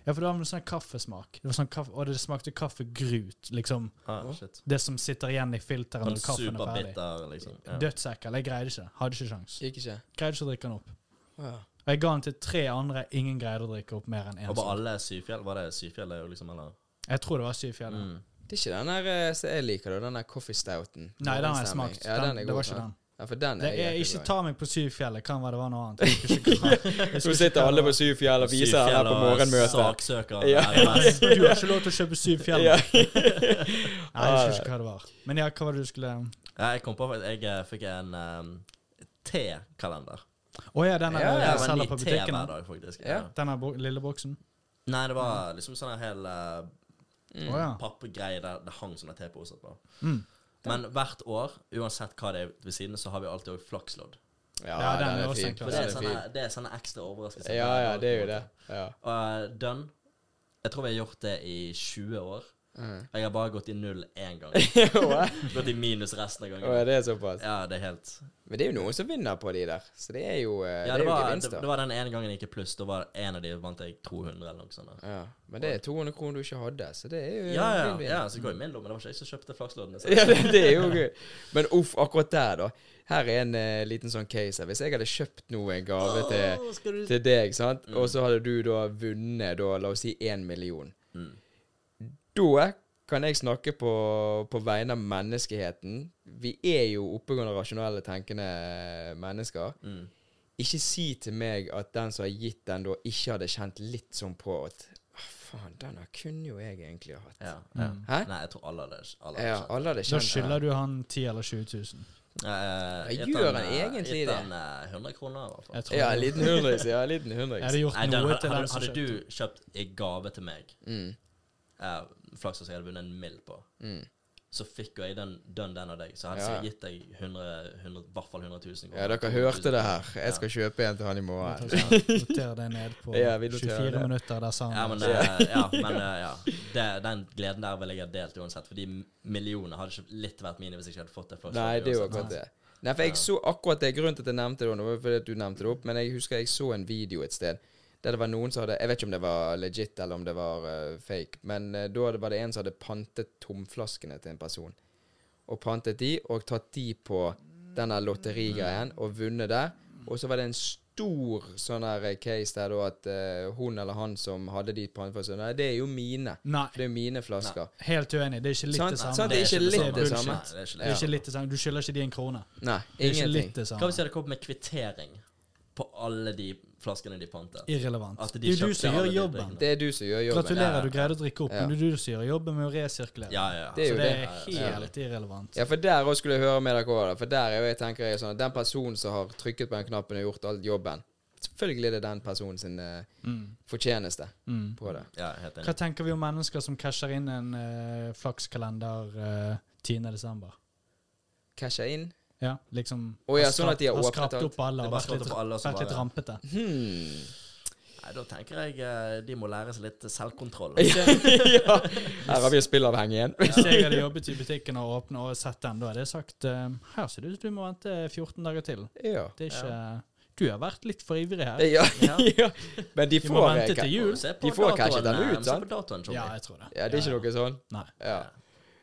S2: Ja, for det var en sånn kaffesmak. Det var sånn kaffe, og det smakte kaffegrut. Liksom
S4: Ah, shit.
S2: det som sitter igjen i filteret
S4: Sånn
S2: når kaffen er ferdig.
S4: superbitter, liksom. Ja.
S2: Dødssekkel. Jeg greide ikke. Hadde ikke sjans.
S3: Gikk ikke.
S2: Greide ikke å drikke den opp.
S3: Ja.
S2: Og jeg ga den til tre andre. Ingen greide å drikke opp mer enn én.
S4: Og
S2: som-
S4: bare alle Syfjell? Var det Syfjell, det er jo liksom, eller?
S2: Jeg tror det var Syfjellet.
S4: Mm.
S3: Det er ikke den her eh, som jeg liker, da. Den der coffee stouten.
S2: Nei, den har jeg
S3: Stemning.
S2: smakt.
S3: Ja,
S2: Den-
S3: den er
S2: det
S3: god,
S2: var ikke
S3: sant?
S2: den.
S3: Ja, for den
S2: Det
S3: er
S2: er
S3: jeg
S2: ikke
S3: glad i.
S2: ta meg på Syfjellet, kan være det var noe annet. Jeg husker ikke hva- jeg husker
S3: Så
S2: ikke
S3: sitter
S2: hva
S3: alle
S2: det
S3: på Syfjell og viser den her på
S4: Syfjell og
S3: morgenmøtet.
S4: Saksøker.
S3: Ja.
S4: RMS.
S2: var. Du har ikke lov til å kjøpe Syfjellet.
S3: Ja. Ah.
S2: Nei, jeg husker ikke hva det var. Men ja, hva var det du skulle
S4: Ja, jeg kom på faktisk Jeg eh, fikk en ehm, T-kalender.
S2: Å ja, den er
S3: Ja,
S2: jeg
S4: Det var en
S2: selger på
S4: ny te hver
S2: butikken.
S4: dag, faktisk.
S3: Ja.
S4: Ja.
S2: Den er bo lille boksen.
S3: Mm.
S4: Nei, det var liksom sånn her hel eh,
S2: Å Mm.
S3: Mm.
S2: ja.
S4: pappgreie der det hang sånne teposer på.
S2: Mm.
S4: Men hvert år, uansett hva det er ved siden, så har vi alltid også flakslodd.
S3: Ja,
S2: Ja, den
S3: den
S2: er
S3: er
S2: også en
S3: fin.
S2: klassiker.
S4: For det
S3: Den
S4: er
S3: er
S4: sånne,
S3: fin.
S4: det er sånne ekstra overraskelser.
S3: Ja, ja, det er jo det. Ja.
S4: Og eh, done. Jeg tror vi har gjort det i 20 år.
S2: Mm.
S4: Og jeg har bare gått i null én gang. gått i minus resten av
S3: Å,
S4: gangen.
S3: er det såpass?
S4: Ja, det er helt
S3: Men det er jo noen som vinner på de der, så det er jo, eh,
S4: Ja, det
S3: det er jo
S4: var, det,
S3: gevinst, da.
S4: det var den ene gangen jeg gikk i pluss. Da var en av de vant jeg 200 eller noe sånt. der.
S3: Ja, men det er 200 kroner du ikke hadde, så det er jo
S4: Ja, ja,
S3: din vinn.
S4: ja, så det går i min lomme. Det var ikke jeg som kjøpte flaksloddene. så-
S3: Ja, det, det er jo gøy. Men uff, akkurat der, da. Her er en eh, liten sånn case. her. Hvis jeg hadde kjøpt nå en gave
S4: Åh,
S3: til,
S4: Mm. skal du-
S3: til deg, sant, og så hadde du da vunnet, da, la oss si én million,
S4: Mm.
S3: da kan jeg snakke på, på vegne av menneskeheten. Vi er jo oppegående, rasjonelle, tenkende mennesker.
S4: Mm.
S3: Ikke si til meg at den som har gitt den, da ikke hadde kjent litt sånn på at «Å, Faen, den her kunne jo jeg egentlig ha hatt.
S4: Ja, ja.
S3: Hæ?
S4: Nei, jeg tror alle hadde alle hadde
S3: Ja,
S4: skjønt.
S3: alle hadde
S2: Da
S3: kjent den.
S2: skylder du han 10 eller 20 000.
S4: Eh,
S3: Ja,
S4: gitt
S3: gjør
S4: han,
S3: han
S4: eh,
S3: egentlig
S4: gitt
S3: det?
S4: han, eh, 100 kroner, i hvert fall.
S2: Jeg tror
S3: Ja, en
S2: det.
S3: liten hundrings. Ja, en liten
S2: Jeg
S3: hundrings.
S2: hadde gjort
S4: Nei, den,
S2: noe
S4: hadde,
S2: til den
S4: hadde,
S2: som
S4: hadde
S2: kjøpte.
S4: du kjøpt i gave til meg
S3: Mm.
S4: eh, Flaks at jeg hadde vunnet en mill på,
S3: Mm.
S4: så fikk jo jeg den, den, den av deg. Så hadde
S3: Ja.
S4: jeg gitt deg 100, 100, i hvert fall 100 000 kroner.
S3: Ja, dere
S4: 200 000
S3: hørte
S4: kroner.
S3: det her. Jeg skal kjøpe en til han i morgen.
S2: Noter det ned på
S3: Ja, vi noterer
S2: 24
S3: det.
S2: minutter. Der sa
S4: Ja,
S2: han
S4: men,
S2: det.
S4: eh, ja, men eh, ja. Det, den gleden der ville jeg ha delt uansett, for de millionene hadde ikke litt vært mine hvis jeg ikke hadde fått det sånn. først.
S3: Nei, det er jo
S4: uansett.
S3: akkurat det. Nei, for jeg så akkurat det grunnen til at jeg nevnte det, nå var fordi at du nevnte det opp, men jeg husker jeg så en video et sted der det var noen som hadde Jeg vet ikke om det var legit eller om det var eh, fake, men eh, da var det- var det en som hadde pantet tomflaskene til en person. Og pantet de, og tatt de på denne lotterigreien, og vunnet der. Og så var det en s- stor sånn her case der da at eh, hun eller han som hadde de panneflaskene, nei, det er jo mine.
S2: Nei,
S3: For det er jo mine flasker.
S2: helt uenig. Det er ikke litt
S3: Sant,
S2: det samme.
S3: sant, Sånn- det er ikke litt det
S2: bullshit.
S3: samme.
S4: Nei, det er ikke litt
S2: Det er
S4: det
S2: ikke
S4: samme.
S2: litt det samme. Du skylder ikke de en krone.
S3: Nei,
S2: Det er ikke
S3: ingenting.
S2: litt det
S4: Hva hvis
S2: samme.
S4: jeg hadde kommet med kvittering på alle de flaskene de pantet?
S2: Irrelevant.
S4: At de
S2: Det er
S4: kjøpte
S2: jo du som
S4: alle
S2: gjør
S4: de
S2: jobben.
S4: drikkene.
S3: Det er du som gjør jobben.
S2: Gratulerer, du greide å drikke opp,
S3: Ja.
S2: men det er du som gjør jobben med å resirkulere.
S4: Ja, ja.
S3: Det er
S2: Så
S3: jo
S2: det
S3: det.
S2: er helt irrelevant.
S3: Ja, for der også skulle jeg høre med dere også, For der er jo jeg tenker jeg sånn at den personen som har trykket på den knappen og gjort all jobben, selvfølgelig er det den personen sin eh, fortjeneste
S2: Mm.
S3: på det.
S4: Ja, helt
S2: Hva
S4: enig.
S2: tenker vi om mennesker som casher inn en eh, flakskalender eh, 10. desember?
S3: Casha inn.
S2: Ja, liksom
S3: Å ja,
S2: har
S3: sånn at de har
S2: skrapt-
S3: åpnet alt.
S2: skrapt opp
S4: Det
S2: alle
S4: er
S2: og
S4: bare
S2: vært
S4: skrapt
S2: litt,
S4: opp alle, og så
S2: vært litt
S4: bare-
S2: rampete.
S3: Hmm.
S4: Nei, da tenker jeg eh, de må lære seg litt selvkontroll.
S3: ja. Her har vi spillavhengig igjen.
S2: Hvis jeg hadde jobbet i butikken og åpnet og sett den, da hadde jeg sagt eh, her ser det ut som du må vente 14 dager til.
S3: ja.
S2: Det er ikke Du har vært litt for ivrig her.
S3: Ja.
S4: Ja.
S3: ja. Men de
S2: Vi må
S3: får
S2: vente til jul.
S4: Se
S3: De får kanskje den
S4: datoen, eh,
S3: ut,
S4: se
S3: sant?
S4: på datoen, Tommy.
S2: Ja, jeg tror det.
S3: Ja, det er ikke
S2: Ja.
S3: noe sånn?
S2: Nei.
S3: Ja.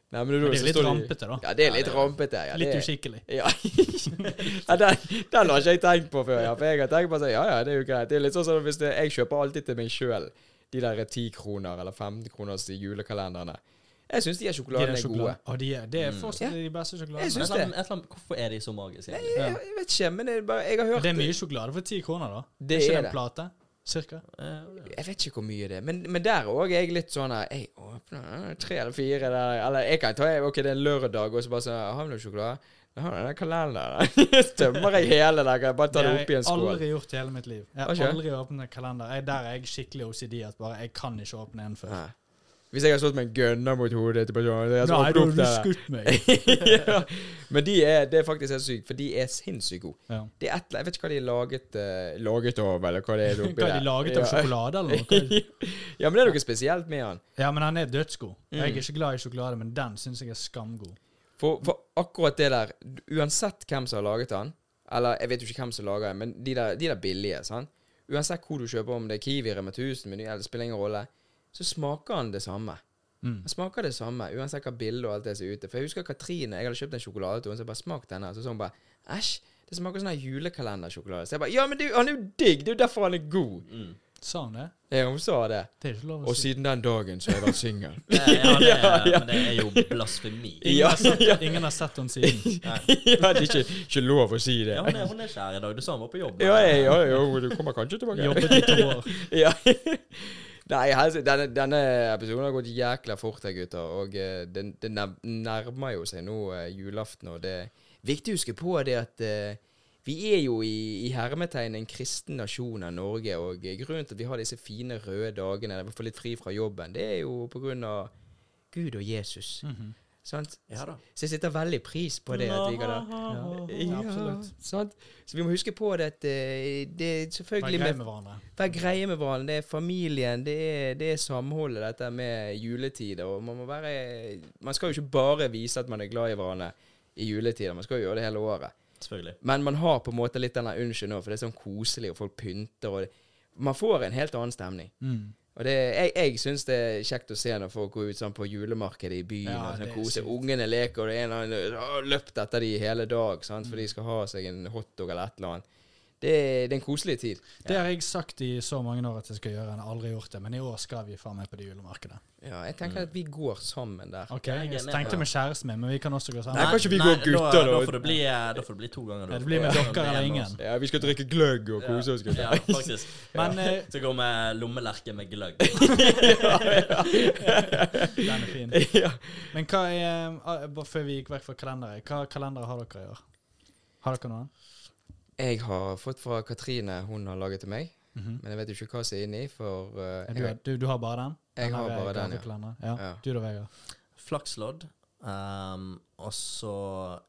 S3: Nei, men, du,
S2: Men det
S3: så
S2: er litt
S3: står de-
S2: rampete, da.
S3: Ja, det er litt
S4: Ja, det er-
S3: rampete. Ja,
S2: Litt
S3: det er-
S2: uskikkelig.
S3: Ja. ja den, den har ikke jeg tenkt på før. Ja. For jeg har tenkt på sånn, ja, ja, det er jo greit. Det er litt sånn som hvis det, jeg kjøper alltid til meg sjøl de der 10 kroner eller 15 kroners julekalenderne. Jeg syns de
S2: De
S3: her
S2: der
S3: sjokoladene er gode. Mm.
S2: sjokoladene. Å, de er, det er fortsatt de beste
S3: Jeg
S2: sjokoladene.
S3: synes
S4: Men et eller
S3: det.
S4: annet- et eller annet- Hvorfor er de så magiske? egentlig?
S3: Jeg, jeg vet ikke, men det er bare, jeg har hørt
S2: Det er mye sjokolade for ti kroner, da.
S3: Det
S2: ikke
S3: er
S2: det
S3: det.
S2: en plate? Cirka.
S4: Eh,
S3: Jeg vet ikke hvor mye det er, men, men der òg er jeg litt sånn her Jeg åpner eh, tre eller fire der Eller jeg kan ta Ok, det er en lørdag, og så bare sånn Har vi noe sjokolade? Jeg har den kalenderen der. Tømmer jeg hele der? Kan jeg bare ta det opp i en
S2: har jeg
S3: skål?
S2: aldri gjort i hele mitt liv. Jeg
S3: Har
S2: har
S3: ikke?
S2: aldri åpnet en kalender. Jeg, der er jeg skikkelig OCD at bare jeg kan ikke åpne en før.
S3: Nei. Hvis jeg har stått med en gunner mot hodet til personen jeg
S2: Nei, da
S3: skal
S2: har du
S3: åpne opp
S2: skutt meg.
S3: det. ja. Men de er, det er faktisk helt sykt, for de er sinnssykt gode.
S2: Ja.
S3: Det er et, eller- jeg vet ikke hva de er laget, eh, laget av, eller hva det er oppi
S2: Hva er de laget av sjokolade eller noe?
S3: ja, men det er noe spesielt med han.
S2: Ja, men han er dødsgod.
S3: Mm.
S2: Jeg er ikke glad i sjokolade, men den syns jeg er skamgod.
S3: For, for akkurat det der Uansett hvem som har laget den Eller jeg vet jo ikke hvem som lager den Men de der, de der billige, sant Uansett hvor du kjøper Om det er Kiwi, Rema 1000 Meny, eller det spiller ingen rolle Så smaker den det samme
S2: Mm.
S3: Den smaker det samme Uansett hva bilde og alt det som er ute For jeg husker Katrine Jeg hadde kjøpt en sjokolade til henne Så jeg bare smakte denne Så sa hun bare Æsj det smaker sånn her julekalendersjokolade Så jeg bare Ja, men det, er jo- han er jo digg Det er jo derfor han er god
S4: mm.
S2: Sa han Sånn, det?
S3: Ja, hun sa det
S2: Det er ikke lov
S3: Og
S2: å si.
S3: siden den dagen Så har jeg vært single
S4: Eh, Ja, det,
S3: Ja, ja.
S4: men det er jo blasfemi.
S2: Ingen, har sett, ingen har sett henne siden.
S3: Ja, det er ikke, ikke lov å si det
S4: Ja, hun er, hun er ikke her i dag. Du sa hun var på jobb.
S3: Ja, ja, ja, ja, du kommer kanskje tilbake.
S2: Jobbet i to år.
S3: Ja. Nei, helse- denne, denne episoden har gått jækla fort her, gutter. Og eh, det, det nev- nærmer jo seg nå eh, julaften, og det er viktig å huske på det at eh, vi er jo i, i hermetegn en kristen nasjon av Norge, og eh, grunnen til at vi har disse fine røde dagene, eller i hvert fall litt fri fra jobben, det er jo på grunn av Gud og Jesus. Sant?
S4: Ja da.
S3: Så jeg setter veldig pris på det. at vi kan da
S2: Ja,
S3: ja,
S2: absolutt.
S3: sant? Så vi må huske på det at eh, det er
S2: Vær
S3: selvfølgelig
S2: grei
S3: med
S2: med hverandre.
S3: Vær greie med hverandre. Det er familien, det er, det er samholdet, dette med juletider. Og man må være Man skal jo ikke bare vise at man er glad i hverandre i juletider, man skal jo gjøre det hele året.
S4: Selvfølgelig.
S3: Men man har på en måte litt denne unnskyld nå, for det er sånn koselig, og folk pynter, og det, man får en helt annen stemning.
S2: Mm.
S3: Og det, jeg, jeg syns det er kjekt å se når folk går ut sånn på julemarkedet i byen
S2: Ja,
S3: og
S2: det
S3: sånn
S2: er
S3: koser.
S2: sykt.
S3: Ungene leker, og det er en eller annen har løpt etter de hele dag, sant? for de skal ha seg en hotdog eller et eller annet. Det, det er en koselig tid.
S2: Det har jeg sagt i så mange år at jeg skal gjøre, jeg har aldri gjort det, men i år skal vi faen meg på det julemarkedet.
S3: Ja, jeg tenker at vi går sammen der.
S2: Mm. Ok,
S4: Jeg er
S2: Jeg
S4: med.
S2: tenkte med kjæresten min, men vi kan også gå
S3: Nei,
S2: sammen.
S3: kanskje vi
S4: Nei,
S3: går
S4: da-
S3: gutter, da.
S4: Da får det bli, eh, da får det bli to ganger. da.
S2: Ja, det blir med
S4: Ja,
S2: dere eller
S4: en med
S2: ingen.
S4: oss.
S3: Ja, vi skal drikke gløgg og kose oss, gutter.
S4: Ja, faktisk.
S2: Men eh,
S4: Så går vi lommelerke med gløgg.
S2: den er fin.
S3: Ja.
S2: Men hva er eh, Bare før vi gikk vekk fra kalenderet, hva kalendere har dere i år? Har dere noen?
S3: Jeg har fått fra Katrine, hun har laget til meg. Men jeg vet jo ikke hva som er inni, for
S2: Mhm.
S3: eh,
S2: Er
S3: jeg, har-
S2: Du, du, du har bare den?
S3: Jeg
S2: Den
S3: har
S2: her er
S3: bare den, ja.
S2: gavekalenderen. ja.
S3: Ja.
S2: Du da, Vegard?
S4: Flakslodd. ehm, og så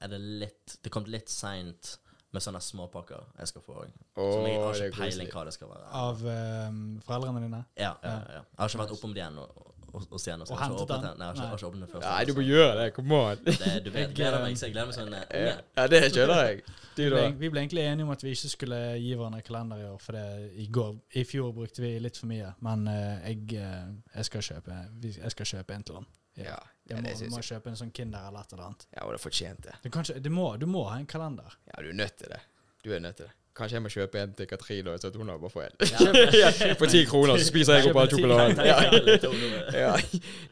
S4: er det litt Det kom litt seint med sånne småpakker jeg skal få òg. Som jeg
S3: Åh,
S4: har
S3: det er
S4: ikke peiling
S3: koselig.
S4: hva det skal være.
S2: Av eh, foreldrene dine?
S4: Ja, ja, ja. Jeg har ikke vært oppom det ennå. Hos igjen, så jeg har
S2: Og
S4: ikke
S2: hentet
S4: åpnet
S2: den?
S4: den. Nei, jeg har ikke- jeg har ikke åpnet den først.
S3: Nei, du må gjøre det. Kom an.
S4: det, du vet, jeg gleder meg så jeg gleder meg sånn
S3: Ja,
S4: unge.
S3: ja, det skjønner jeg. Du,
S2: Vi
S3: da?
S2: ble, vi ble egentlig enige om at vi ikke skulle gi hverandre kalender i år, for det, i, går, i fjor brukte vi litt for mye. Men eh, jeg, eh, jeg, skal kjøpe, vi- jeg skal kjøpe en til han.
S3: Ja, ja,
S2: Jeg må,
S3: det syns
S2: må
S3: jeg.
S2: kjøpe en sånn Kinder eller et eller annet.
S3: Ja, og det fortjente jeg.
S2: Du, kan ikke, du, må, du må ha en kalender.
S3: Ja, du er nødt til det. Du er nødt til det. Kanskje jeg må kjøpe en til Katrine, så at hun også bare får en. For ti kroner, så spiser jeg opp all sjokoladen. Ja. Ja.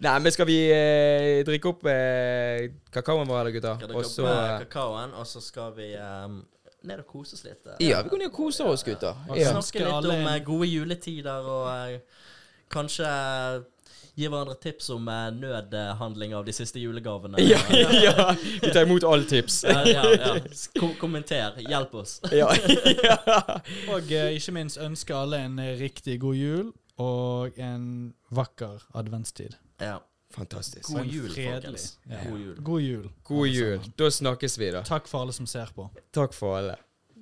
S3: Nei, men skal vi eh, drikke opp eh, kakaoen vår, eller gutter?
S4: Skal dere
S3: Og så
S4: med kakaoen, og så skal vi ehm, ned og kose oss litt. eh.
S3: Ja, vi går ned og koser oss, gutter.
S2: Og
S3: Ja.
S4: Snakke litt om eh, gode juletider, og eh, kanskje eh, gi hverandre tips om eh, nødhandling av de siste julegavene.
S3: Ja, ja. Vi tar imot alle tips.
S4: Ja, ja, ja. Ko kommenter. Hjelp oss.
S3: Ja.
S2: Og eh, ikke minst ønske alle en eh, riktig god jul og en vakker adventstid.
S4: Ja.
S3: Fantastisk.
S2: Og
S4: God
S2: en
S4: jul,
S2: fredelig-
S4: folkens.
S2: Ja.
S4: God jul.
S2: God jul.
S3: God jul. Da snakkes vi, da.
S2: Takk for alle som ser på.
S3: Takk for alle.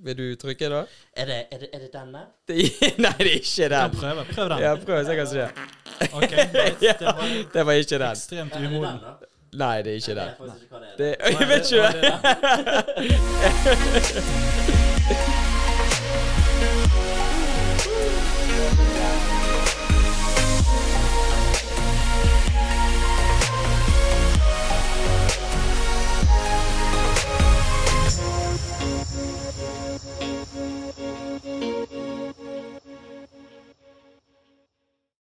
S3: Vil du trykke, da?
S4: Er det, er det, er det denne?
S3: Nei, det er ikke
S2: Kan
S3: den.
S2: prøve. Prøv den.
S3: Ja, prøv å se hva som skjer.
S2: Ok, Det var
S3: Det var ikke den.
S2: ekstremt
S4: Er det den,
S2: umoden.
S4: da?
S3: Nei, det er ikke
S4: Jeg
S3: den.
S4: vet faktisk ikke hva det er.
S3: Det, jeg vet ikke.
S2: Var det-